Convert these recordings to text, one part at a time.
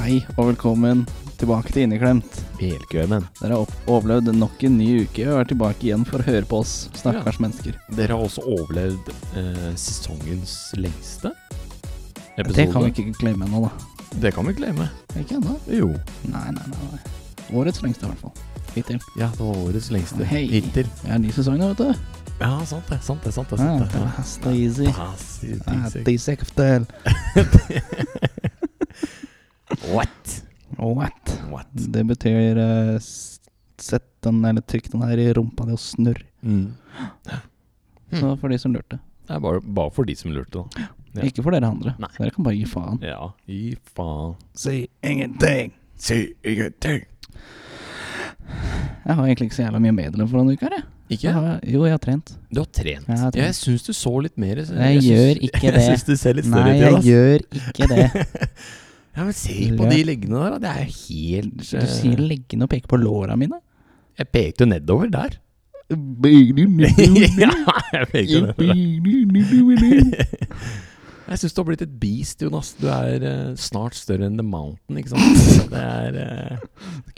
Hei og velkommen tilbake til Inneklemt. Velkommen. Dere har opp- overlevd nok en ny uke og er tilbake igjen for å høre på oss, stakkars mennesker. Dere har også overlevd eh, sesongens lengste episode. Det kan vi ikke glemme ennå, da. Det kan vi glemme. Ikke ennå? Jo. Nei, nei, nei. nei. Årets lengste, i hvert fall. Hittil. Ja, det var årets lengste Hei. hittil. Det er ny sesong nå, vet du. Ja, sant det. Sant det. sant det, Ja, sant det det. er Stazy. Pass i Ja, ting, det er sektel. sikkert. What? What? What? Det betyr eh, s- Sett den, eller trykk den her i rumpa di og snurr. Mm. Så for de som lurte. Det er bare, bare for de som lurte, da. Ja. Ikke for dere andre. Nei. Dere kan bare gi faen. Ja, gi faen. Si ingenting. Si ingenting. Jeg har egentlig ikke så jævla mye medlem for denne uka, her, jeg. Ikke? Jeg har- Jo, jeg har trent. Du har trent. Jeg har trent. Jeg syns du så litt mer Jeg gjør syns- ikke Jeg det. syns du ser litt større Nei, ut i det. jeg ass. gjør ikke det. Ja, men se på de leggene der, da. Det er jo helt Du sier eh, leggene og peker på låra mine. Jeg pekte jo nedover der. Jeg ja, jeg pekte nedover der. Jeg syns du har blitt et beast, Jonas. Du er eh, snart større enn The Mountain, ikke sant. Det er eh,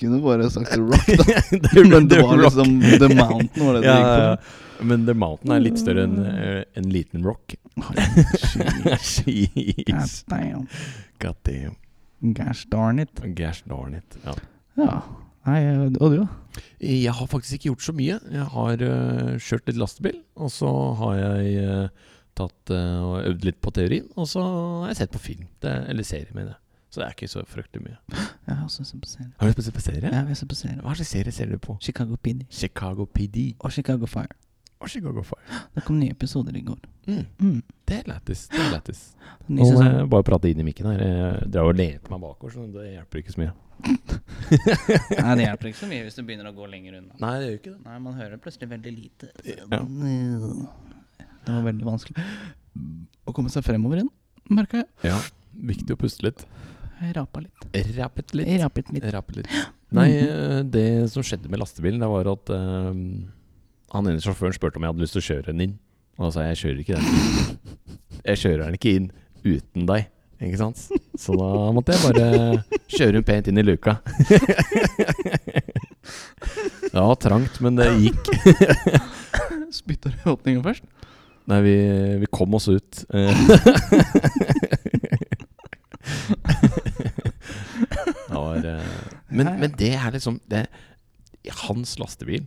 kunne bare sagt rock, det er- det er rock. liksom The Mountain var ja, ja, ja. Men The Mountain er litt større enn eh, en liten rock. Jeez. God damn. God damn. Gosh darn it. Gosh darn it. Ja. Ja. Nei, og du, da? Jeg har faktisk ikke gjort så mye. Jeg har øh, kjørt litt lastebil, og så har jeg øh, tatt øh, og øvd litt på teorien, og så har jeg sett på film, det, eller serie, mener jeg. Så det er ikke så fryktelig mye. Jeg har også sett på serie. Har du sett på serie? Ja, vi har sett på serie. Hva slags serie ser du på? Chicago PD Chicago PD og Chicago Fire. og Chicago Fire. Det kom nye episoder i går. Mm, Mm. det er lættis. Det er lættis. Ny Nå må sesong. jeg bare prate inn i mikken her. Jeg drar og lener meg bakover, så det hjelper ikke så mye. Nei, det hjelper ikke så mye hvis du begynner å gå lenger unna. Nei, det gjør ikke Nei, man hører plutselig veldig lite. eh, det. Ja. Det var veldig vanskelig å komme seg fremover igjen, merka jeg. ja. Viktig å puste litt. Jeg rapa litt. Rappet litt. Jeg rapet litt. Rappe litt. Nei, eh, det som skjedde med lastebilen, det var at eh, han ene sjåføren spurte om jeg hadde lyst til å kjøre den inn. Og da sa jeg jeg kjører ikke den. Jeg kjører den ikke inn uten deg, ikke sant? Så da måtte jeg bare kjøre hun pent inn i luka. Det var trangt, men det gikk. Spytta du i åpninga først? Nei, vi, vi kom oss ut. Eh. det var, eh, men, men det er liksom det, I hans lastebil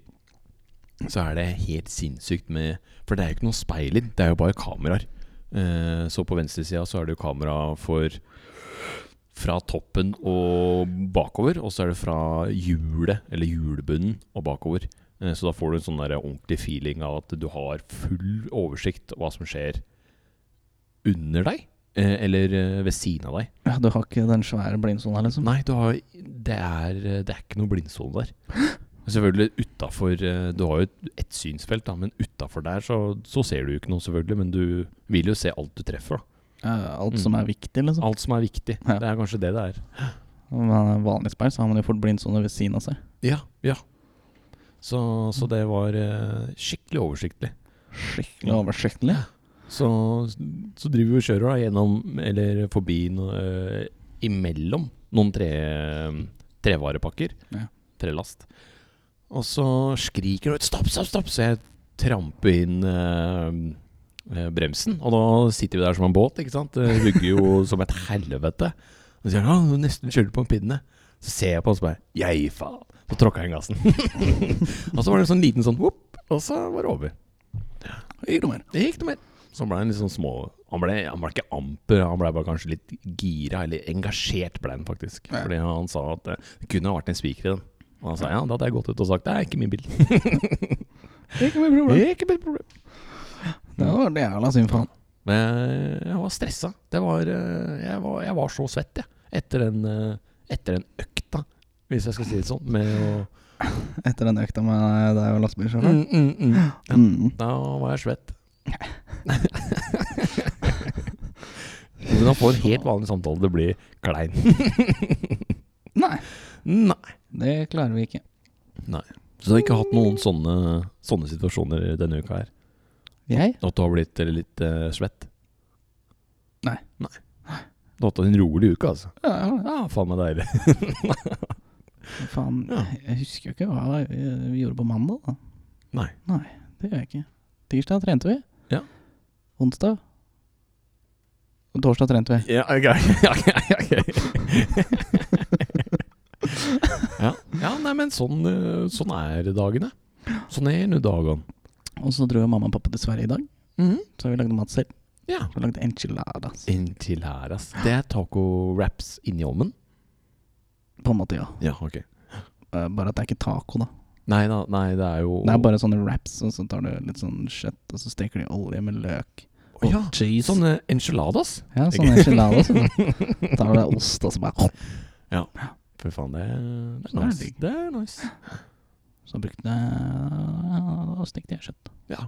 så er det helt sinnssykt med For det er jo ikke noen speiler, det er jo bare kameraer. Eh, så på venstresida så er det jo kamera for fra toppen og bakover, og så er det fra hjulet, eller hjulbunnen, og bakover. Eh, Så da får du en sånn der ordentlig feeling av at du har full oversikt over hva som skjer under deg, eh, eller eh, ved siden av deg. Ja, du har ikke den svære blindsona, liksom? Nei, du har, det, er, eh, det er ikke noe blindsone der. Selvfølgelig utafor eh, Du har jo et- et synsfelt, da, men utafor der så, så ser du jo ikke noe, selvfølgelig. Men du vil jo se alt du treffer. da Ja, alt Mm. som er viktig, liksom. Alt som er viktig. Ja. Det er kanskje det det er. Om man er vanlig speil, så har man jo fort blindsone ved siden av seg. Ja, ja. Så, så det var eh, skikkelig oversiktlig. Skikkelig oversiktlig. Så, så driver vi og kjører da gjennom, eller forbi no, eh, imellom noen tre, eh, trevarepakker. Ja. Trelast. Og så skriker hun 'stopp, stopp, stopp', så jeg tramper inn eh, eh, bremsen. Og da sitter vi der som en båt, ikke sant. Det rugger jo som et helvete. Og så sier han 'å, du nesten kjørte på en pinne'. Så ser jeg på han og så bare 'jeg, faen'. Så tråkka jeg inn gassen. og så var det en sånn liten sånn vopp, og så var det over. Ikke noe mer. Det gikk noe mer. Så han ble en litt sånn små han ble, han ble ikke amper, han ble bare kanskje litt gira, eller engasjert ble han faktisk. Ja. Fordi han sa at eh, det kunne ha vært en spiker i den. Og han sa ja, da hadde jeg gått ut og sagt det er ikke min bil. Ikke noe problem. ikke mitt problem. Det var det jævla synd for han. Men eh, jeg var stressa. Det var, eh, jeg, var, jeg var så svett, jeg. Etter den, eh, etter den økta, hvis jeg skal si det sånn. Med å Etter den økta med deg og lastebilsjåføren. mm, mm, mm. Mm. Da var jeg svett. Men han får en helt vanlig samtale. Det blir klein. Nei, Nei. det klarer vi ikke. Så du har ikke hatt noen sånne, sånne situasjoner denne uka her? Jeg? At du har blitt eh, litt eh, svett? Nei. Nei. Du har hatt en rolig uke, altså. Ja, jeg har det. Ja, faen meg deilig. Men Faen, Ja. jeg husker jo ikke hva eh, vi gjorde på mandag, da. Nei. Nei, det gjør jeg ikke. Tirsdag trente vi. Ja. Onsdag. Og torsdag trente vi. Ja, ok. ok, ok. ja. ja, nei, men sånn, eh, sånn er dagene. Sånn er nå dagene. Og så dro jo mamma og pappa til Sverige i dag, så vi lagde mat selv. Ja. Så vi lagde enchiladas. Inntil her, ass. Det er taco-wraps inni ovnen? På en måte, ja. Ja, ok. Eh, Bare at det er ikke taco, da. Nei da, nei, det er jo Det er bare sånne wraps, og så tar du litt sånn kjøtt, og så steker du i olje med løk Å og ja, cheese. Sånne enchiladas. Ja, sånne enchiladas. Så tar du deg ost, og så bare Fy faen, det, er- det Sånn er er nice. det. Det er nice. Så brukte jeg Og stekte jeg kjøtt. Ja.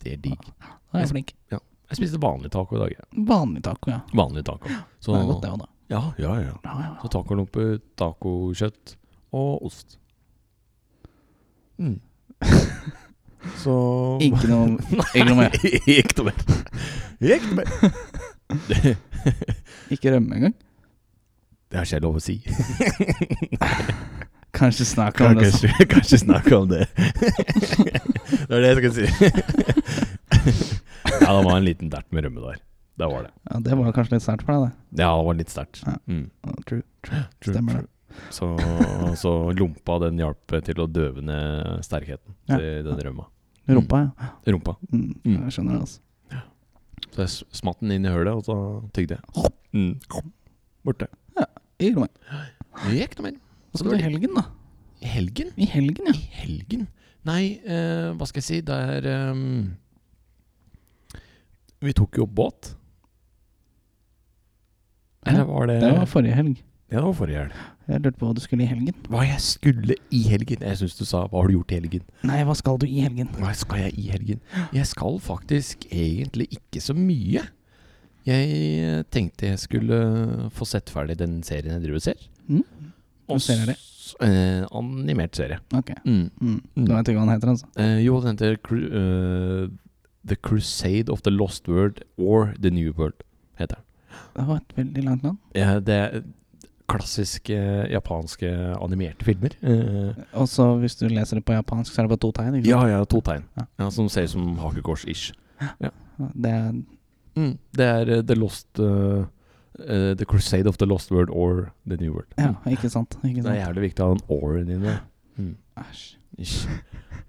Det er digg. Da er jeg flink. Jeg spiste vanlig taco i dag. jeg. Vanlig taco, ja. Vanlig taco. Så, Det er godt, det òg, da. Ja, ja, ja. Ja, ja, Så tacolompe, tacokjøtt og ost. Mm. Så ja. Ikke noe Ikke noe mer. Ikke noe mer. Ikke noe mer. Det, Ikke rømme engang. det er ikke lov å si. Kanskje snakk om det. Kanskje, kanskje snakke om det. det er det jeg skal si. ja, det var en liten dert med rømme der. Det var det. Ja, det var kanskje litt sært for deg, det. Ja, det var litt sterkt. Ja. Mm. Ja, True. Stemmer det. Så, så lompa den hjalp til å døve ned sterkheten Ja. til den rømma. Rumpa, ja. Rumpa. Mm, Mm. jeg skjønner det, altså. Så jeg s- smatt den inn i hølet, og så tygde jeg. Mm. Borte. Ikke noe mer. Gikk noe mer. Hva skal du i helgen, da? I helgen? I helgen, ja. I helgen? Nei, eh, hva skal jeg si? Det er ehm, Vi tok jo båt. Eller var det Det var forrige helg. Ja, det var forrige helg. Jeg lurte på hva du skulle i helgen. Hva jeg skulle i helgen? Jeg syns du sa 'hva har du gjort i helgen'? Nei, hva skal du i helgen? Hva skal jeg i helgen? Jeg skal faktisk egentlig ikke så mye. Jeg eh, tenkte jeg skulle få sett ferdig den serien jeg driver og ser. Mm. Og Hva ser dere? s- Eh, animert serie. Ok. Mm. Mm. Mm. Du vet ikke hva han heter, altså? Eh, jo, den heter Cru eh, The Crusade of the Lost World or The New World, heter den. Det var et veldig langt navn. Eh, det er klassiske japanske animerte filmer. Eh, Og så hvis du leser det på japansk, så er det bare to tegn. Ikke? ja, ja, to tegn. Ja. Ja, som ser ut som hakekors-ish. sant? Det er Mm, det er eh, The Lost eh, eh, The Crusade of the Lost World or The New World. Ja, ikke sant? Ikke Det er sant? jævlig viktig å ha en or-en i det. Æsj. Ish.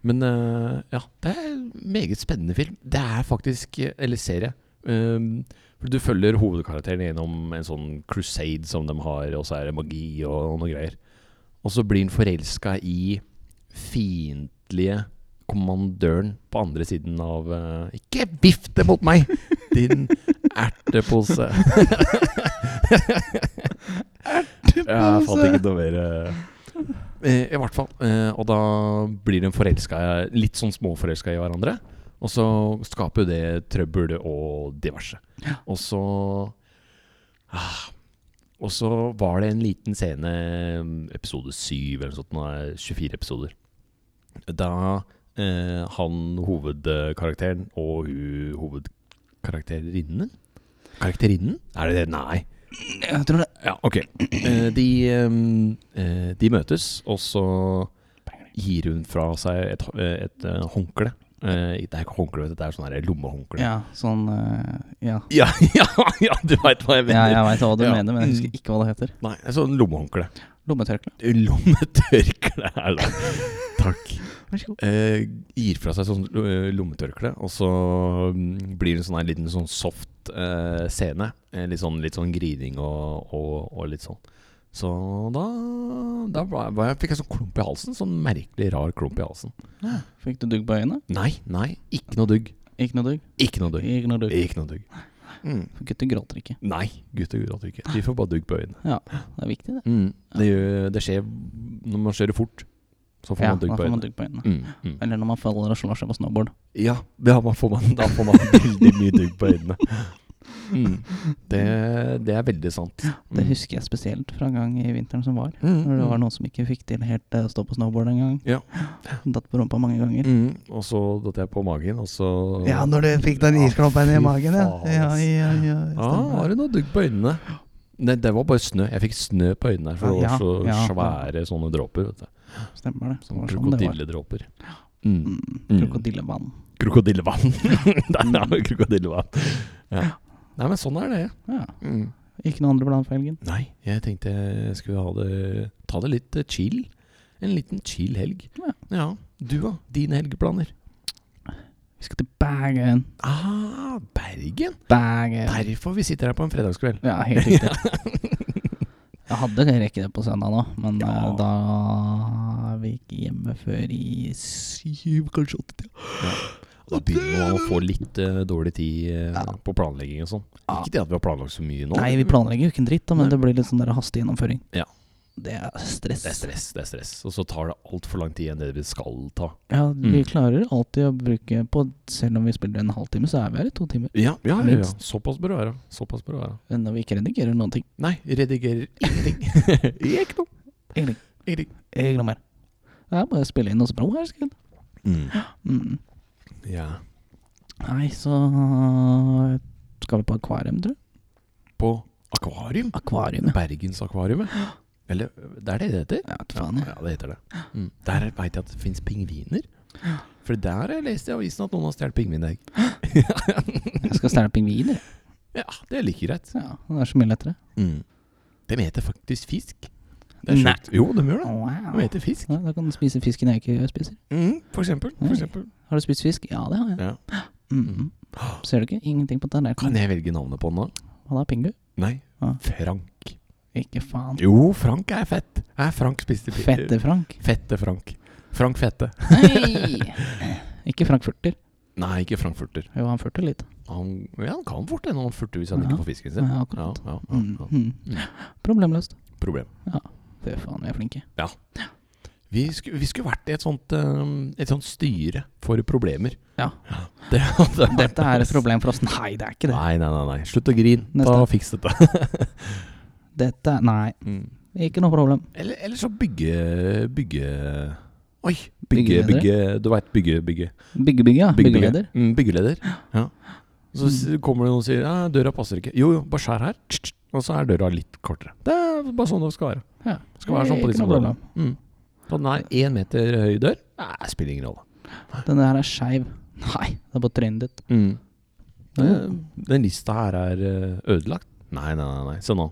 Men eh, ja, det er en meget spennende film. Det er faktisk eh, Eller serie. Um, for du følger hovedkarakteren gjennom en sånn crusade som de har, og så er det magi og noe greier. Og så blir han forelska i fiendtlige kommandøren på andre siden av eh, Ikke vifte mot meg, din ertepose. Ja, jeg fant ikke noe mer eh, eh, I hvert fall. eh, og da blir de forelska, litt sånn småforelska i hverandre. Og så skaper jo det trøbbel og diverse. Og så ah, Og så var det en liten scene, mm, episode syv eller noe sånt, nå er det 24 episoder. Da eh, han hovedkarakteren og hun hovedkarakterinnen Karakterinnen? Er det det? Nei. Jeg tror det. Ja, ok. Eh, de, ehm, eh, de møtes, og så gir hun fra seg et, hå- eh, et eh, håndkle. Eh, det er ikke håndkle, det er sånn her lommehåndkle. Ja, sånn eh, Ja, Ja, ja, ja, du veit hva ja jeg Mm. mener. jeg veit hva du Ja. mener, men jeg husker ikke hva det heter. Nei, sånn lommehåndkle. Lommetørkle. Lommetørkle er det. Takk. Vær så god. Eh, gir fra seg sånn eh, lommetørkle, og så mm, blir det en sånn her liten sånn soft eh, scene. Eh, litt, sånn, litt sånn grining og, og, og litt sånn. Så da, da var jeg, var jeg, fikk jeg sånn klump i halsen. Sånn merkelig rar klump i halsen. Fikk du dugg på øynene? Nei, nei, ikke noe dugg. Ikke noe dugg? Ikke noe dugg. Ikke noe dugg. Ikke noe dugg. Mm. Gutter gråter ikke. Nei, gutter gråter ikke. De får bare dugg på øynene. Ja, det er viktig, det. Mm. Det, gjør, det skjer når man kjører fort. Så får Ja, man dugg da på får man øynene. dugg på øynene. Mm, mm. Eller når man faller og slår seg på snowboard. Ja, det har man, får man, da får man veldig mye dugg på øynene. Mm. Det, det er veldig sant. Det husker jeg spesielt fra en gang i vinteren som var. Mm. Når det var noen som ikke fikk til helt eh, å stå på snowboard en gang. Ja. Datt på rumpa mange ganger. Mm. Og så datt jeg på magen, og så Ja, når du fikk den isklumpen i Ja, fy magen, ja. faen, ja, ass. ja, ja ah, Har du noe dugg på øynene? Nei, det var bare snø. Jeg fikk snø på øynene her, for det Ja, var så ja. svære sånne dråper. vet du Stemmer det. Det var Sånne sånn det var. krokodilledråper. Mm. Mm, Mm. Krokodillevann. Krokodillevann. Der er Mm. jo krokodillevann. Ja. Nei, men sånn er det. Ja. Ikke noe andre blant felgen. Nei, jeg tenkte jeg skulle ha det ta det litt eh, chill. En liten chill helg. Ja. Du, da? Dine helgeplaner? Vi skal til Bergen. Ah, Bergen! Bergen. Derfor vi sitter her på en fredagskveld. Ja, helt riktig. Jeg hadde rekke det på søndag nå, men Ja. eh, da vi gikk hjemme før i syv, kanskje åtte tida. Da begynner man å få litt eh, dårlig tid eh, på planlegging og sånn. Ja. Ikke det at vi har planlagt så mye nå. Nei, vi planlegger jo ikke en dritt, da, men Nei. det blir litt sånn der hastig gjennomføring. Ja. Det er stress. Det er stress, det er stress. Og så tar det altfor lang tid enn det vi skal ta. Ja, vi Mm. klarer alltid å bruke på Selv om vi spiller en halvtime, så er vi her i to timer. Ja, ja, ja, ja. Såpass bør det være. Såpass bør det være. Når vi ikke redigerer noen ting. Nei, redigerer ingenting. Ikke noe. Ingenting. Ingenting. Ikke noe mer. Det er bare å spille inn noe bra her. Skal. Mm. Ja. Nei, så skal vi på akvarium, tror jeg. På akvarium. Akvarium, ja. Bergensakvariet. Eller det er det det heter? Ja, vet du faen, ja. ja, det heter det. Mm. Der veit jeg at det fins pingviner. For der har jeg lest i avisen at noen har stjålet pingvinegg. Jeg skal stjele pingviner. jeg. Ja, det er like greit. Ja, det er så mye lettere. Mm. De heter faktisk fisk. Det er Nei. sjukt. Jo, de gjør det. Wow. De heter fisk. Ja, da kan du spise fisken jeg ikke spiser. Mm, for eksempel. Nei. For eksempel. Har du spist fisk? Ja, det har jeg. Ja. Mm. Ser du ikke? Ingenting på Kan tallerkenen. jeg velge navnet på den da? Han har pingu. Nei. Ja. Frank. Ikke faen. Jo, Frank er fett. Er Frank spiste pi- Fette Frank. Fette Frank. Frank Fette. Hei! Ikke Frank Furter. Nei, ikke Frank Furter. Jo, han furter litt. Han, ja, han kan furte når han furter hvis han Ja. ikke får fisken sin. Ja, Ja, akkurat. ja, ja, Mm. ja. Mm. Problemløst. Problem. Fy faen, vi er flinke. Vi skulle, vi skulle vært i et sånt, eh, et sånt styre for problemer. Ja. Det hadde vært- Dette er et problem for oss. Nei, det er ikke det. Nei, nei, nei. nei. Slutt å grine. Da Neste. fiks dette. Dette Nei, Mm. ikke noe problem. Eller, eller så bygge Bygge Oi! Bygge, Byggeledere? bygge Du veit, bygge, bygge. Byggebygge, ja. Byggeleder. Byggeleder. Mm. Mm, byggeleder. Ja. Så s- kommer det noen og sier ja, 'døra passer ikke'. Jo, jo, bare skjær her. Tsk, tsk. Og så er døra litt kortere. Det er bare sånn det skal være. Ja. Det skal være sånn på Ikke disse noe områdene. problem. Mm. Så den er én meter høy dør. Nei, spiller ingen rolle. Den der er skeiv. Nei, det er på trynet ditt. Mm. Jo. Den, den lista her er eh, ødelagt. Nei, nei, nei. nei. Se nå.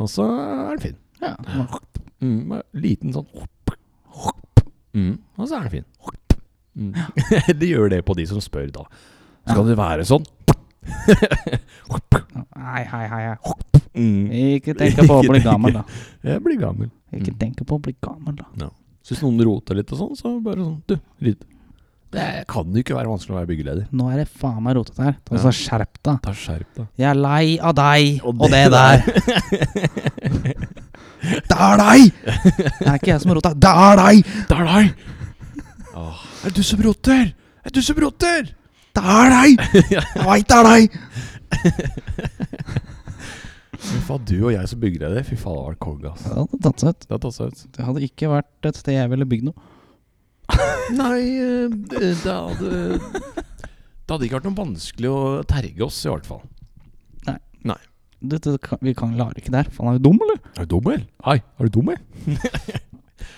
Og så er den fin. Ja. Mm, med liten sånn mm, Og så er den fin. Mm. de gjør det på de som spør, da. Skal det være sånn? Nei, hei, hei, hei. Mm. Ikke tenk på å Ikke bli tenke. gammel, da. Jeg blir gammel. Ikke Mm. tenk på å bli gammel, da. Så hvis noen roter litt og sånn, så bare sånn Du, rydd. Det kan jo ikke være vanskelig å være byggeleder. Nå er det faen meg rotete her. Ta Ja. så Skjerp deg. Ta skjerp deg. Jeg er lei av deg og det, der. Det er deg! Det er ikke jeg som har rota. Det er deg! Det er deg! Åh. Er det du som roter? Er det du som roter? Det er deg! Jeg veit det er deg! Fy faen, du og jeg som byggeleder. Fy faen, det var konge, ass. Det hadde tatt seg ut. Det har tatt seg ut. Det hadde ikke vært et sted jeg ville bygd noe. Nei, eh, det det hadde Det hadde ikke vært noe vanskelig å terge oss, i hvert fall. Du, du, kan- vi kan klare ikke der. Faen, er du dum, eller? Er du dum, eller? Hei, er du dum, eller?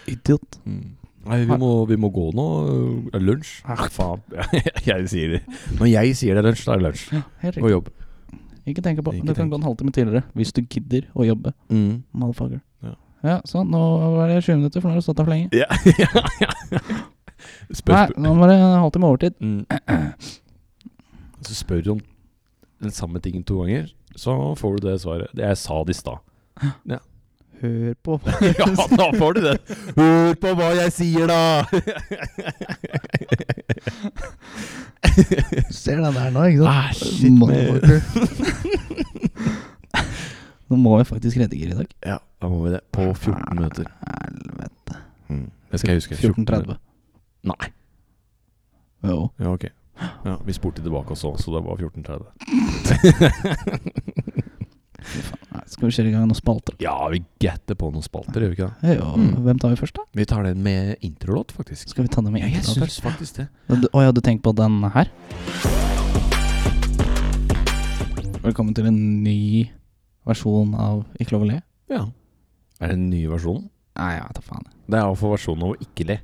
Idiot. Mm. Nei, vi må, vi må gå nå. Det er lunsj. Ah, Faen. Jeg sier det. Når jeg sier det er lunsj, da er det lunsj. Ja, helt Og riktig. jobb. Ikke tenk på Ikke Du kan tenk. gå en halvtime tidligere hvis du gidder å jobbe. Mm. Motherfucker. Ja. Ja, sånn. Nå var det 20 minutter, for nå har du stått der for lenge. Ja. spør, Nei, spør. nå var det en halvtime overtid. Mm. Så spør du om den samme tingen to ganger, så får du det svaret. Det jeg sa det i stad. Hør på Ja, da får du det. Hør på hva jeg sier, da! Ser den der nå, ikke sant? Ah, shit, man. Nå må vi faktisk redigere i dag. Ja, da må vi det. På 14 minutter. Helvete. Mm. Det skal jeg huske. 14 minutter. 14.30. Nei. Jo. Ja, ok. Ja, vi spurte tilbake også, så det var 14.30. Nei, skal vi kjøre i gang noen spalter? Ja, vi gatter på noen spalter, gjør vi ikke det? Ja, og Mm. Hvem tar vi først, da? Vi tar den med introlåt, faktisk. Skal vi ta det med Ja, jeg enkeltdater? syns faktisk det. Å ja, du tenker på den her? Velkommen til en ny versjon av Ikke lov å le. Ja. Er det den nye versjonen? Nei, ja, ta faen. Det er iallfall versjonen av å ikke le.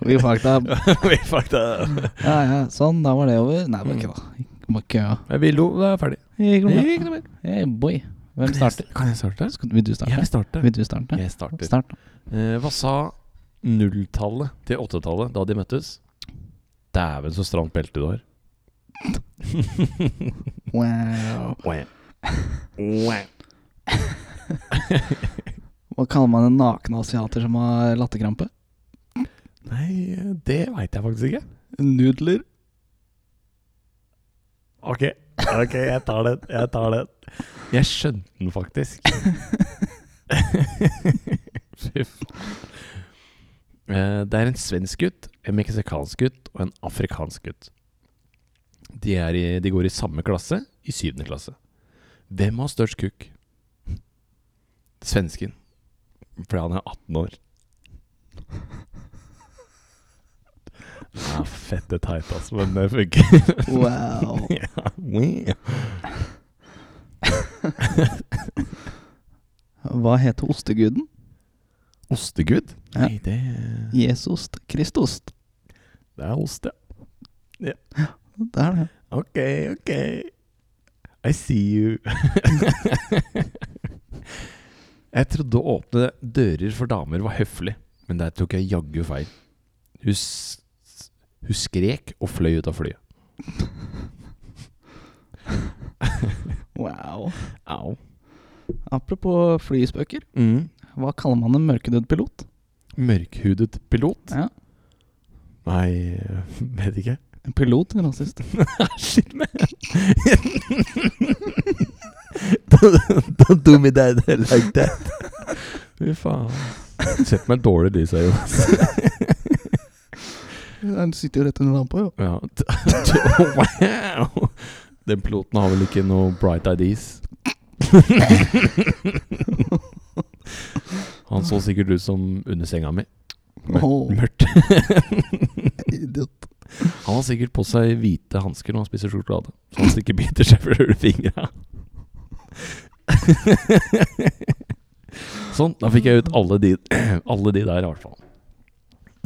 Vi fakta. Vi fucked up. Ja, ja, sånn, da var det over. Nei, det var ikke det. Bare ikke, ja. Jeg vil jo, det er ferdig. Ikke lov å le. Ikke noe mer. Hey, boy. Hvem Kan jeg- starter? Kan jeg starte? Skal, vil du Jeg starte? vil starte. Vil du starte? Jeg starter. Start. da. Eh, hva sa nulltallet til åttetallet da de møttes? Dæven, så stramt belte du har. Wow. Hva kaller man en naken asiater som har latterkrampe? Nei, det veit jeg faktisk ikke. Nudler. Ok, ok, jeg tar den. Jeg tar den. Jeg skjønte den faktisk. Fy faen. Eh, Det er en svensk gutt, en meksikansk gutt og en afrikansk gutt. De, er i, de går i samme klasse, i syvende klasse. Hvem har størst kukk? Svensken. Fordi han er 18 år. Ja, Ah, fette teit, altså, men det funker. Wow. Ja, wow. Hva heter osteguden? Ostegud? Ja. Nei, det, Jesost. Kristost. det er ost, ja. Det er det. Ok, ok. I see you. jeg trodde å åpne dører for damer var høflig, men der tok jeg jaggu feil. Hun, s- hun skrek og fløy ut av flyet. Wow. Au. Apropos flyspøker. Mm. Hva kaller man en mørkhudet pilot? Mørkhudet pilot? Ja. Nei, vet ikke. En pilot, en rasist. Shit, man. don't, don't do me that like that. Fy faen. Sett meg dårlig lys her, Jonas. Den sitter jo rett under lampa, jo. Ja. wow. Den piloten har vel ikke noe bright ideas? Han så sikkert ut som under senga mi. Mør Åh. Mørkt. Idiot. Han har sikkert på seg hvite hansker når han spiser sjokolade. Så han ikke biter seg for fingra. sånn, da fikk jeg ut alle de, alle de der, i hvert fall.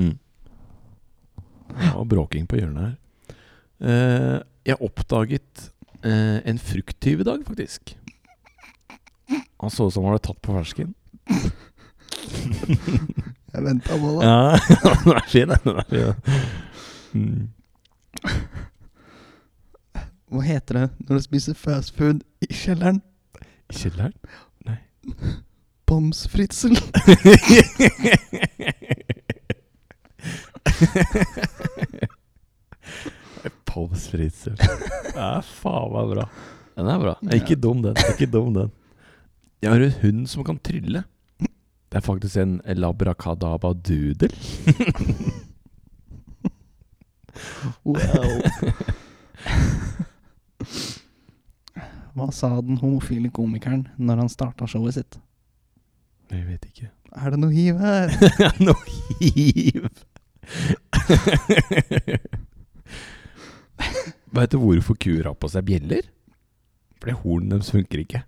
Mm. Det var bråking på hjørnet her. Eh, jeg oppdaget eh, en frukttyv i dag, faktisk. Han så ut som han hadde tatt på fersken. Jeg venta på det. Ja, den er fin, den. den er fin, den. Mm. Hva heter det når du spiser fast food i kjelleren? Kjelleren? Pommes fritzel. Pommes frites. Det er faen meg bra. Den er bra. Er ikke dum, den. Er ikke dum, den. Jeg har en hund som kan trylle. Det er faktisk en labrakadabadudel. Wow. Hva sa den homofile komikeren når han starta showet sitt? Jeg vet ikke. Er det noe hiv her? Noe hiv! Veit du hvorfor kuer har på seg bjeller? Fordi hornene deres funker ikke.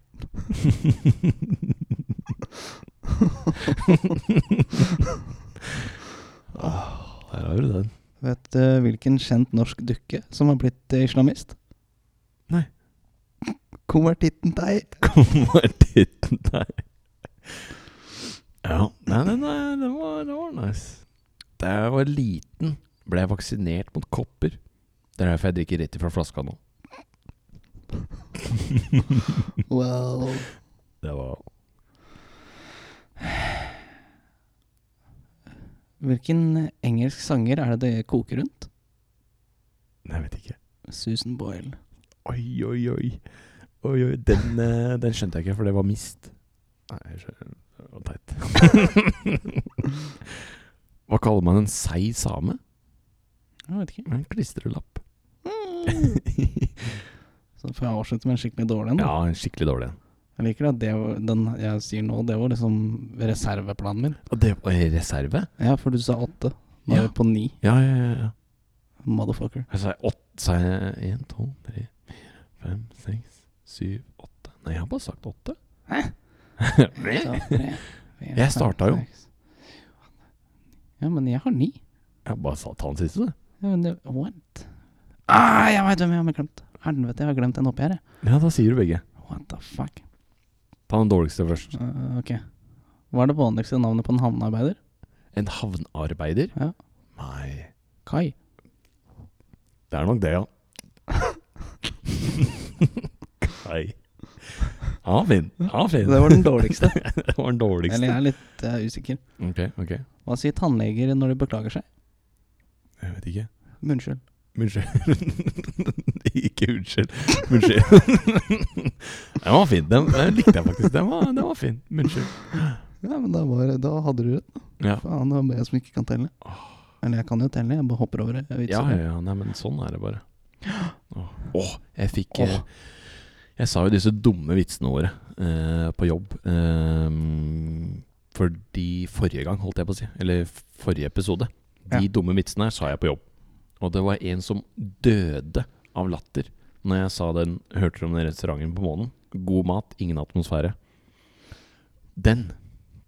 Åh, Der har du den. Vet du hvilken kjent norsk dukke som har blitt eh, islamist? Nei. Konvertitten deg. Kommer titten der. Ja. Nei, nei, nei, det var, det var nice. Da jeg var liten, ble jeg vaksinert mot kopper. Det er derfor jeg drikker rett ifra flaska nå. Wow. Det var Hvilken engelsk sanger er det det koker rundt? Nei, jeg vet ikke. Susan Boyle. Oi, oi, oi. Oi, oi, Den, eh, den skjønte jeg ikke, for det var mist. Nei, jeg skjønner. Det var teit. Hva kaller man en seig same? Jeg vet ikke. En klistrelapp. Mm. Så får jeg avslutte med en skikkelig dårlig en. da. Ja, en skikkelig dårlig en. Jeg liker at det, var- den jeg sier nå, det var liksom reserveplanen min. Og det var en reserve? Ja, for du sa åtte. Nå er Ja. vi på ni. Ja, ja, ja. ja. Motherfucker. Jeg sa åtte, sa jeg én, tolv, tre, fem, seks, syv, åtte Nei, jeg har bare sagt åtte. Hæ? Så, tre, fire, Jeg fem, starta jo. seks. Ja, men jeg har ni. Jeg bare sa ta den siste, du. Ja, men det, what? Ah, jeg veit hvem jeg har glemt. Helvete, jeg har glemt en oppi her, jeg. Ja, da sier du begge. What the fuck. Ta den dårligste først. Eh, ok. Hva er det vanligste navnet på en havnearbeider? En havnarbeider? Ja. Nei Kai. Det er nok det, ja. Kai. Ja, fin. Ja, fin. Det var den dårligste. Det var den dårligste. Eller jeg er litt eh, usikker. Ok, ok. Hva sier tannleger når de beklager seg? Jeg vet ikke. Munnskyld. Unnskyld. ikke unnskyld. Unnskyld. den var fin. Den, den likte jeg faktisk. Den var, den var fin. Unnskyld. Ja, men da, var, det- da hadde du det. Ja. Faen, det var bare jeg som ikke kan telle. Eller jeg kan jo telle, jeg bare hopper over det. Jeg vet ja, ikke. ja, ja. Nei, men sånn er det bare. Åh, Åh, jeg fikk Åh. eh, Jeg sa jo disse dumme vitsene våre eh, på jobb. Eh, fordi forrige gang, holdt jeg på å si, eller forrige episode, de Ja. dumme vitsene her sa jeg på jobb. Og det var en som døde av latter når jeg sa den Hørte du om den restauranten på månen? God mat, ingen atmosfære. Den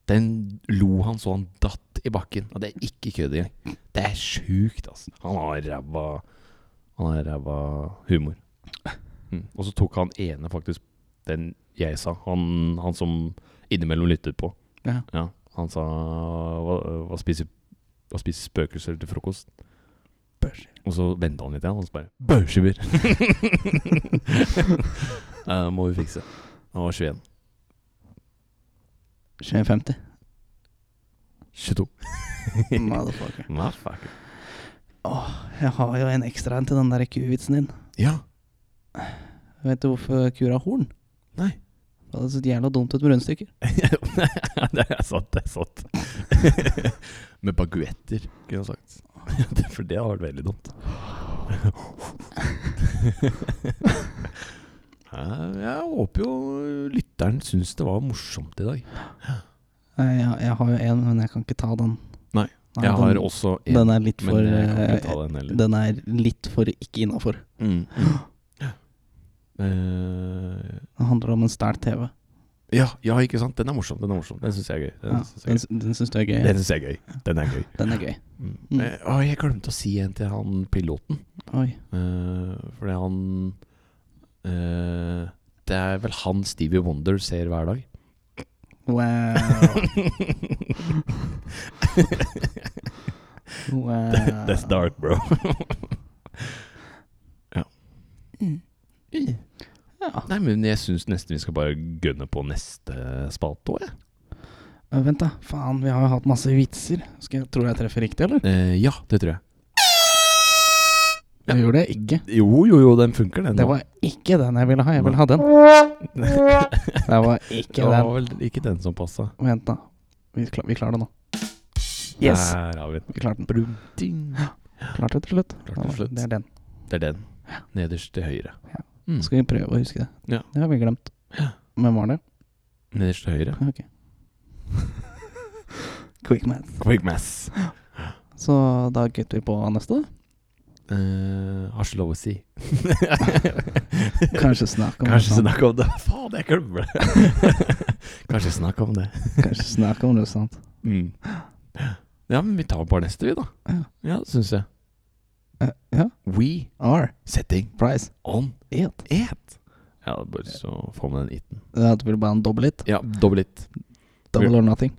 Den lo han så han datt i bakken. Og det er ikke kødd engang. Det er sjukt, altså. Han har ræva Han har ræva humor. Mm. Og så tok han ene faktisk den jeg sa. Han, han som innimellom lyttet på. Ja. Han sa hva, hva, spiser, hva spiser spøkelser til frokost? Børsskiver. Og så venta han litt igjen, og så bare Børskiver! uh, må vi fikse. Han var 21. 21,50. 22. Motherfucker. Motherfucker. Jeg har jo en ekstra en til den der kuvitsen din. Ja. Vet du hvorfor kur har horn? Nei. Det hadde sett jævla dumt ut med rundstykker. det er sant, det er sant. Med baguetter, kunne jeg sagt. For det hadde vært veldig dumt. Eh, Jeg håper jo lytteren syns det var morsomt i dag. Nei, Jeg, jeg har jo en, men jeg kan ikke ta den. Nei, Nei, Jeg har den, også en, den er litt for men jeg kan ikke eh, ta den heller. Den er litt for ikke innafor. Mm. Eh, Den handler om en stæl TV. ja, ja, ikke sant? Den er morsom. Den er morsom Den syns jeg er gøy. Den Ja, synes jeg er den gøy. sy- den syns du er gøy? Den synes jeg er gøy. Den er gøy. Den er gøy. Mm. Mm. Eh, å, jeg glemte å si en til han piloten. Oi. Eh, fordi han eh, Det er vel han Stevie Wonder ser hver dag. Wow. wow. bro. Mm. Ja. Nei, men jeg syns nesten vi skal bare gønne på neste spalte òg, jeg. Eh, Vent, da. Faen, vi har jo hatt masse vitser. Skal jeg, tror du jeg treffer riktig, eller? Eh, ja, det tror jeg. Ja. Jeg gjorde det ikke. Jo, jo, jo, den funker, den. Det nå. var ikke den jeg ville ha. Jeg ville ha den. Det var ikke det var den. vel ikke den som passa. Vent, da. Vi, kla vi klarer det nå. Der har vi den. Vi klarte den. Brum, ding. Klarte det til slutt. Klarte det til slutt. Det er den. Det er den. Nederst til høyre. Ja. Mm. Nå skal vi prøve å huske det. Ja. Det har vi glemt. Hvem var det? Nederst til høyre. Ok. Quick math. Quick mass. Så da gutter vi på neste. da. Eh, har ikke lov å si. Kanskje snakk om Kanskje det. sant? snakk om det. Faen, jeg glemmer det. Kanskje snakk om det. Kanskje snakk om det, sant? Mm. Ja, men vi tar bare neste, vi, da. Ja. Ja, syns jeg. Eh, ja. We R. setting Price. on It. et. Ja, det er bare så få med den iten. Det er at vi bare en dobbel it. Ja, dobbel it. Double or nothing.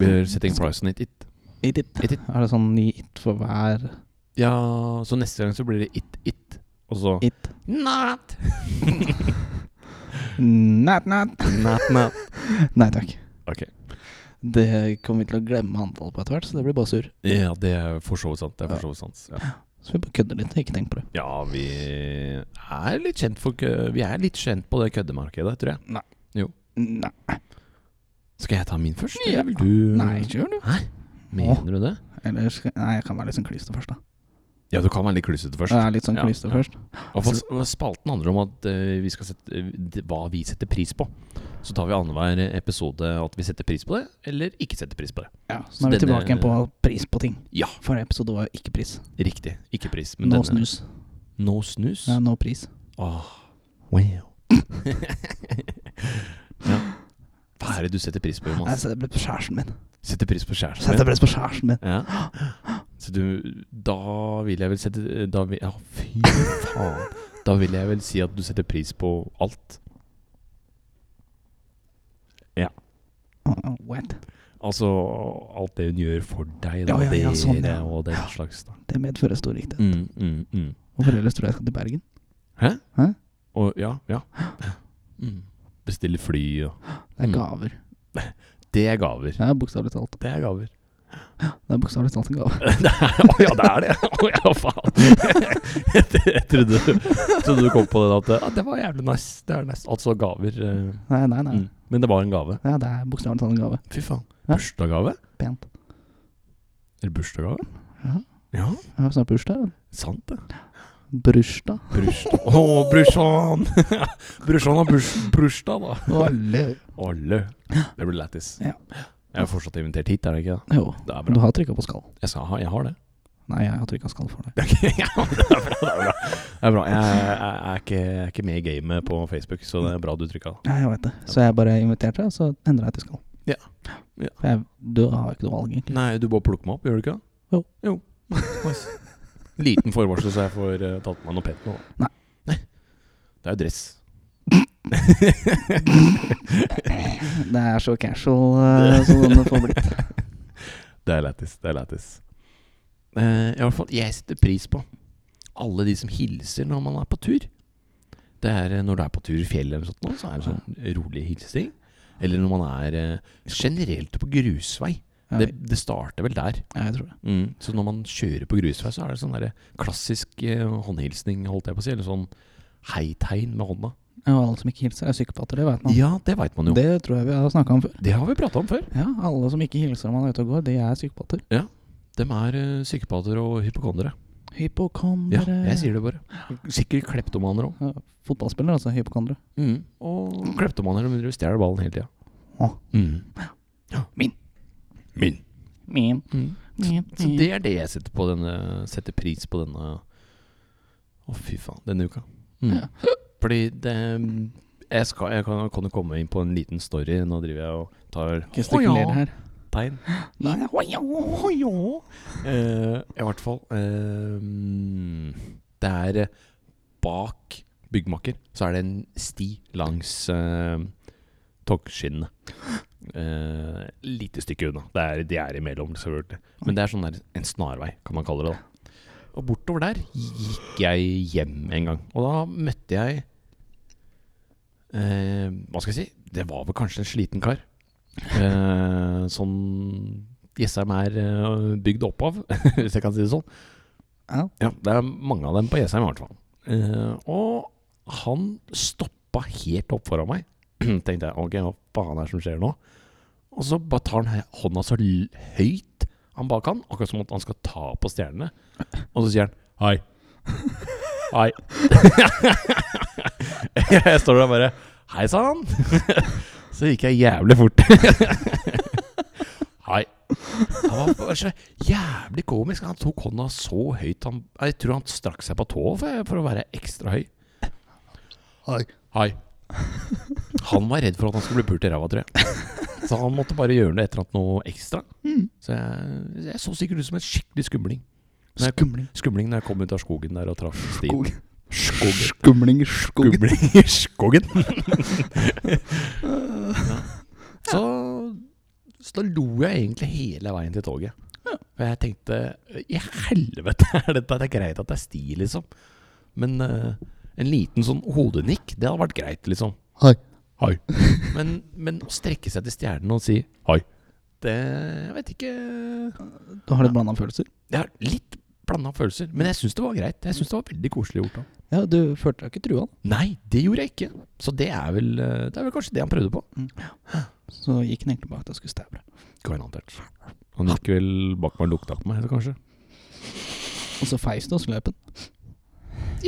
We're setting price on it, it. It it. It, it. Er det sånn ny it for hver Ja, så neste gang så blir det it, it. Og så it? Not. Nat, nat. Not, not. Nei takk. Ok. Det kommer vi til å glemme antallet på etter hvert, så det blir bare sur. Ja, det er for så vidt sant. Det er for så vidt sant. Ja. Så vi bare kødder litt. Ikke tenk på det. ja, vi er litt kjent for kø- Vi er litt kjent på det køddemarkedet, tror jeg. Nei. Skal jeg ta min først? Ja. Eller vil du Nei, ikke gjør det. Nei? Åh. Mener du det? Eller skal, nei, jeg kan være litt sånn klyste først, da. Ja, du kan være litt klysete først. Jeg er litt sånn Ja, klyste ja. først. Og hva, hva spalten handler om at eh, vi skal sette eh, d- hva vi setter pris på. Så tar vi annenhver episode at vi setter pris på det, eller ikke setter pris på det. Ja, så Så nå er vi denne- tilbake igjen på pris på ting. Ja. Forrige episode var jo ikke pris. Riktig. Ikke pris. No denne- snus. No snus. Ja, no pris. Åh, wow. ja. Hva er det du setter pris på, Jeg Jonas? setter pris på kjæresten min. Setter pris på Jeg Altså- setter kjæresten? pris på kjæresten min. Ja. Så du Da vil jeg vel sette Da vil Ja, fy faen. Da vil jeg vel si at du setter pris på alt. Oh, wet. Altså alt det hun gjør for deg, da. Ja, ja, ja, sånn, dere ja. og den slags. Da. Det medfører stor riktighet. Mm, mm, mm. Hvorfor ellers tror jeg jeg skal til Bergen? Hæ? Hæ? Og ja, ja. Mm. Bestille fly og Det er Mm. gaver. Det er gaver. Det er bokstavelig talt Det er gaver. Det er bokstavelig talt en gave. Det er- Å ja, det er det! Å ja, faen. Jeg trodde, trodde du kom på den at ah, det var jævlig nice. Det er nice. Altså gaver. eh, Nei, nei, nei. Mm. Men det var en gave. Ja, det er bokstavelig talt en gave. Fy faen. Ja. Bursdagsgave? Pent. Eller bursdagsgave? Ja. Ja, Jeg har snart bursdag. vel? sant det. Bursdag. Bursdag. Å, brorsan! brorsan har burs bursdag, da. Alle. Det blir lættis. Ja. Jeg er fortsatt invitert hit, er det ikke? Jo. da? Det er Men du bra. har trykka på skall. Jeg, skal ha, jeg har det. Nei, jeg har trykka skall for deg. ja, det er bra. Det er bra. Det er bra. Jeg, jeg, jeg, er ikke, jeg er ikke med i gamet på Facebook, så det er bra du trykka. Nei, jeg vet det. Så jeg bare inviterte deg, og så endra jeg til skall. Ja. Ja. For jeg, du har ikke noe valg, egentlig. Nei, du bare plukker meg opp, gjør du ikke det? Jo. jo. Nice. Liten forvarsel, så jeg får eh, tatt meg noe pent nå. Nei. Nei. Det er jo dress. Det er så casual eh, som det får blitt. Det er lættis. Det er lættis. Eh, I hvert fall, jeg setter pris på alle de som hilser når man er på tur. Det er eh, Når du er på tur i fjellet, eller noe sånt, nå, så er det sånn rolig hilsing. Eller når man er eh, generelt på grusvei. Ja, Det, det starter vel der. ja, jeg tror det. Så når man kjører på grusvei, så er det sånn der klassisk eh, håndhilsning, holdt jeg på å si. Eller sånn hei-tegn med hånda. Ja, og alle som ikke hilser, er psykopater. Det vet man. Ja, det veit man jo. Det, Det tror jeg vi har snakka om før. har vi prata om før. Ja, Alle som ikke hilser når man er ute og går, de er psykopater. Dem er eh, psykopater og hypokondere. Ja, Hypokondere. jeg sier det bare. Sikkert kleptomaner òg. Ja, Fotballspillere, altså. Hypokondere. Mm. Og kleptomaner de driver og stjeler ballen hele tida. Å. Mm. Ja. Min. Min. Min, Mm. min, Så det er det jeg setter, på denne, setter pris på denne Å, fy faen. Denne uka. Mm. Fordi det jeg, skal, jeg kan, kan jo komme inn på en liten story. Nå driver jeg og tar Gestikulerer her. tegn. Nei, Eh, I hvert fall eh, Det er eh, bak byggmakker så er det en sti langs uh, togskinnene. Eh, lite stykke unna. Det er, de er imellom, selvfølgelig. Men det er sånn der, en snarvei, kan man kalle det. da Og bortover der gikk jeg hjem en gang. Og da møtte jeg eh, Hva skal jeg si? Det var vel kanskje en sliten kar. Eh, sånn Jessheim er eh, bygd opp av, hvis jeg kan si det sånn. Ja. Det er mange av dem på Jessheim, i hvert fall. Eh, og han stoppa helt opp foran meg. Tenkte jeg ok, hva faen er det som skjer nå? Og så bare tar han he- hånda så l- høyt han bak han, akkurat som at han skal ta på stjernene. Og så sier han hei. Hei. jeg står der og bare hei sann. så gikk jeg jævlig fort. hei. Han var bare så jævlig komisk. Han tok hånda så høyt. Han, jeg tror han strakk seg på tå for, for å være ekstra høy. Hei. Hei. Han var redd for at han skulle bli pult i ræva, tror jeg. Så han måtte bare gjøre noe, et eller annet noe ekstra. Så jeg, jeg så sikkert ut som en skikkelig skumling. Når jeg- Skumling. Skumling når jeg kom ut av skogen der og traff stien. Skog. Skumling. Skog. Skumling i skogen. Så, så da lo jeg egentlig hele veien til toget. For jeg tenkte I helvete er dette Det er greit at det er sti, liksom. Men eh, en liten sånn hodenikk, det hadde vært greit, liksom. Hei. Hei. Men, men å strekke seg til stjernen og si hei, det Jeg vet ikke Du har litt blanda følelser? Jeg har litt blanda følelser. Men jeg syns det var greit. Jeg syns det var veldig koselig gjort. da Ja, du følte deg ikke trua, da. Nei, det gjorde jeg ikke. Så det er vel, eh, det er vel kanskje det han prøvde på. Så gikk han egentlig bare at jeg skulle stævle. Garantert. Han gikk vel bak meg og lukta på meg, så kanskje. Og så feis du og sløp den.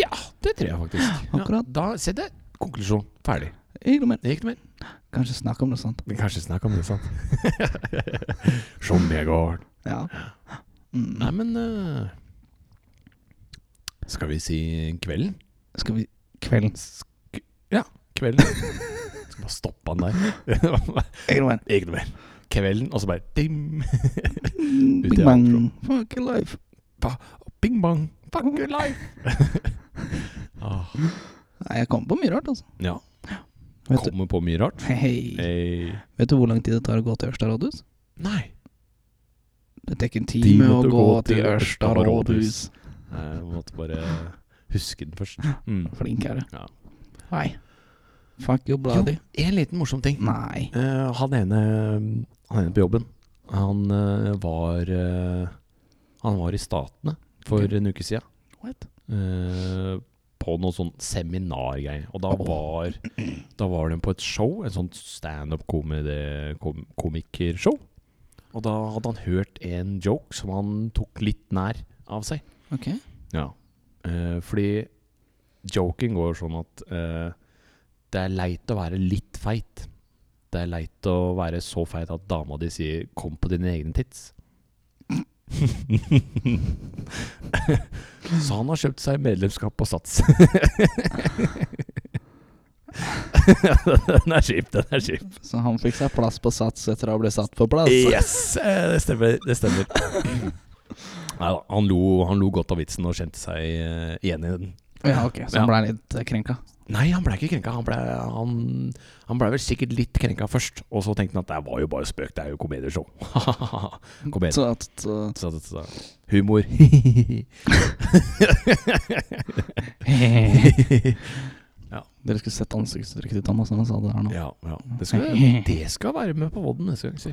Ja, det tror jeg faktisk. Akkurat. Ja, da, se det. Konklusjon. Ferdig. Ikke noe mer. Det gikk det mer. Kanskje snakke om noe sånt. Men kanskje snakk om det, sant. Som det går. Ja. Mm. Nei, men eh, Skal vi si kvelden? Skal vi Kvelden. Sk ja, kvelden. Skal bare stoppe han der. Ikke noe mer. Ikke noe mer. Kvelden, og så bare dim, Ute Big i bang. outro. Fuck your life. bing bang, fuck your life. ah, Nei, jeg kom på mye rart, altså. ja, Vet du, kommer på mye rart. hei, hei. Hey. Vet du hvor lang tid det tar å gå til Ørsta rådhus? Nei. Det tar ikke en Time time å til å gå gå til til Ørsta Ørsta rådhus. Nei, Jeg måtte bare huske den først. Mm. Flink er du. Ja. Nei. Fuck you, Jo, bloody. en liten morsom ting. Nei. Eh, han, ene, han ene på jobben, han eh, var eh, Han var i Statene for Ok. en uke siden. What? eh, på noe sånn seminargreie. Og da var, da var de på et show, et sånt standup-komikershow. Og da hadde han hørt en joke som han tok litt nær av seg. Ok. Ja. Eh, fordi joken går sånn at eh, det er leit å være litt feit. Det er leit å være så feit at dama di sier 'kom på dine egne tits'. så han har kjøpt seg medlemskap på Sats. den er kjip, den er kjip. Så han fikk seg plass på sats etter å ha blitt satt på plass? Yes! eh, Det stemmer. Det stemmer. Neida, han, lo, han lo godt av vitsen og kjente seg eh, igjen i den. Ja, ok. Så Ja. han ble litt eh, krenka? Nei, han ble ikke krenka. Han ble, han, han ble vel sikkert litt krenka først. Og så tenkte han at det var jo bare spøk, det er jo komedieshow. Kom igjen. Så at så- Så, så, så. Humor. Ja. Dere skulle sett ansiktsuttrykket ditt Thomas, når han sa det her nå. ja, ja. Mm. Det skal, det skal være med på Vodden neste gang, si.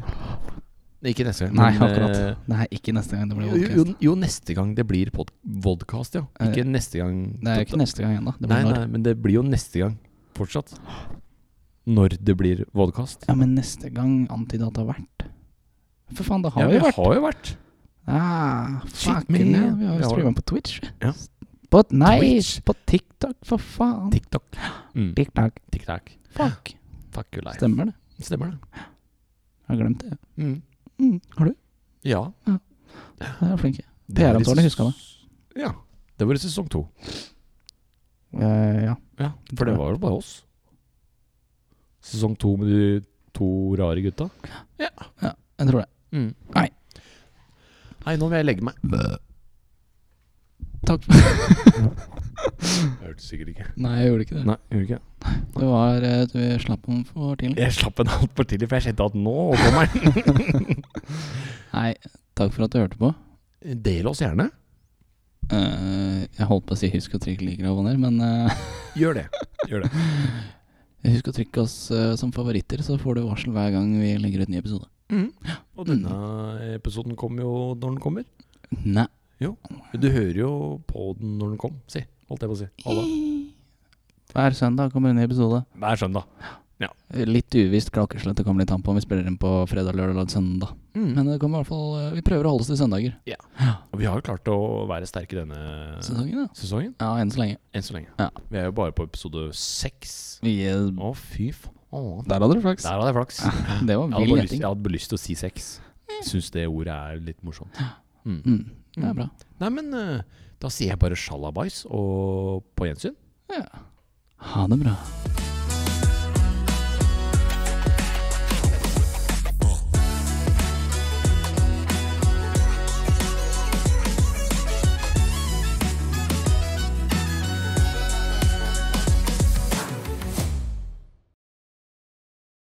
Nei, Ikke neste gang. Nei, men, eh, akkurat. Det er ikke neste gang det blir jo, jo, podcast. jo, neste gang det blir pod- vodcast, ja. Ikke neste gang. Det er ikke neste gang ennå. Det Nei, blir når. nei, men det blir jo neste gang fortsatt. Når det blir vodkast. Ja, men neste gang antyder at det har vært. For faen, det har Ja, jo det vært. har jo vært. Ah, Shit, fuck, men- ja, vi har Ja. jo streamet på Twitch. Ja. På, nei, Twitch. på TikTok, for faen. TikTok. Mm. TikTok. TikTok. Fuck. Fuck you life. Stemmer det? Stemmer det. Jeg har glemt det. Mm. Mm. Har du? Ja. Jeg er flink. PR-avtalen, husker jeg det. Ja. Det var i sesong to. Eh, ja. Ja, for det var jo bare oss. Sesong to med de to rare gutta. Jeg tror det. Mm. Nei. Nei, nå vil jeg legge meg. Takk for Jeg hørte sikkert ikke. Nei, jeg gjorde ikke det. Nei, gjorde ikke. Det var eh, Du slapp om for tidlig. Jeg slapp en altfor tidlig, for jeg kjente at nå kommer den. Nei, takk for at du hørte på. Del oss gjerne. Eh, jeg holdt på å si 'husk å trykke liker og abonner', men eh, Gjør det. Gjør det. husk å trykke oss eh, som favoritter, så får du varsel hver gang vi legger ut ny episode. Og denne episoden kommer jo når den kommer. Nei. Du hører jo på den når den kom, si. Holdt jeg på å si. Alle. Hver søndag kommer en ny episode. Hver søndag. Litt uvisst klokkeslett det kommer litt an på om vi spiller inn på fredag, lørdag eller søndag. Mm. Men det kommer i hvert fall eh, Vi prøver å holde oss til søndager. Og vi har jo klart å være sterke denne Sesongen, ja. sesongen. Ja, enn så lenge. Enn så lenge. Ja. Vi er jo bare på episode seks. Vi, eh, Å, fy faen. der hadde du flaks. Der hadde jeg flaks. Det var Jeg hadde, vill bare lyst, gjetting. jeg hadde bare lyst til å si seks. Syns det ordet er litt morsomt. Mm. Mm, det er bra. Nei, men eh, da sier jeg bare sjalabais og på gjensyn. Ja. Ha det bra.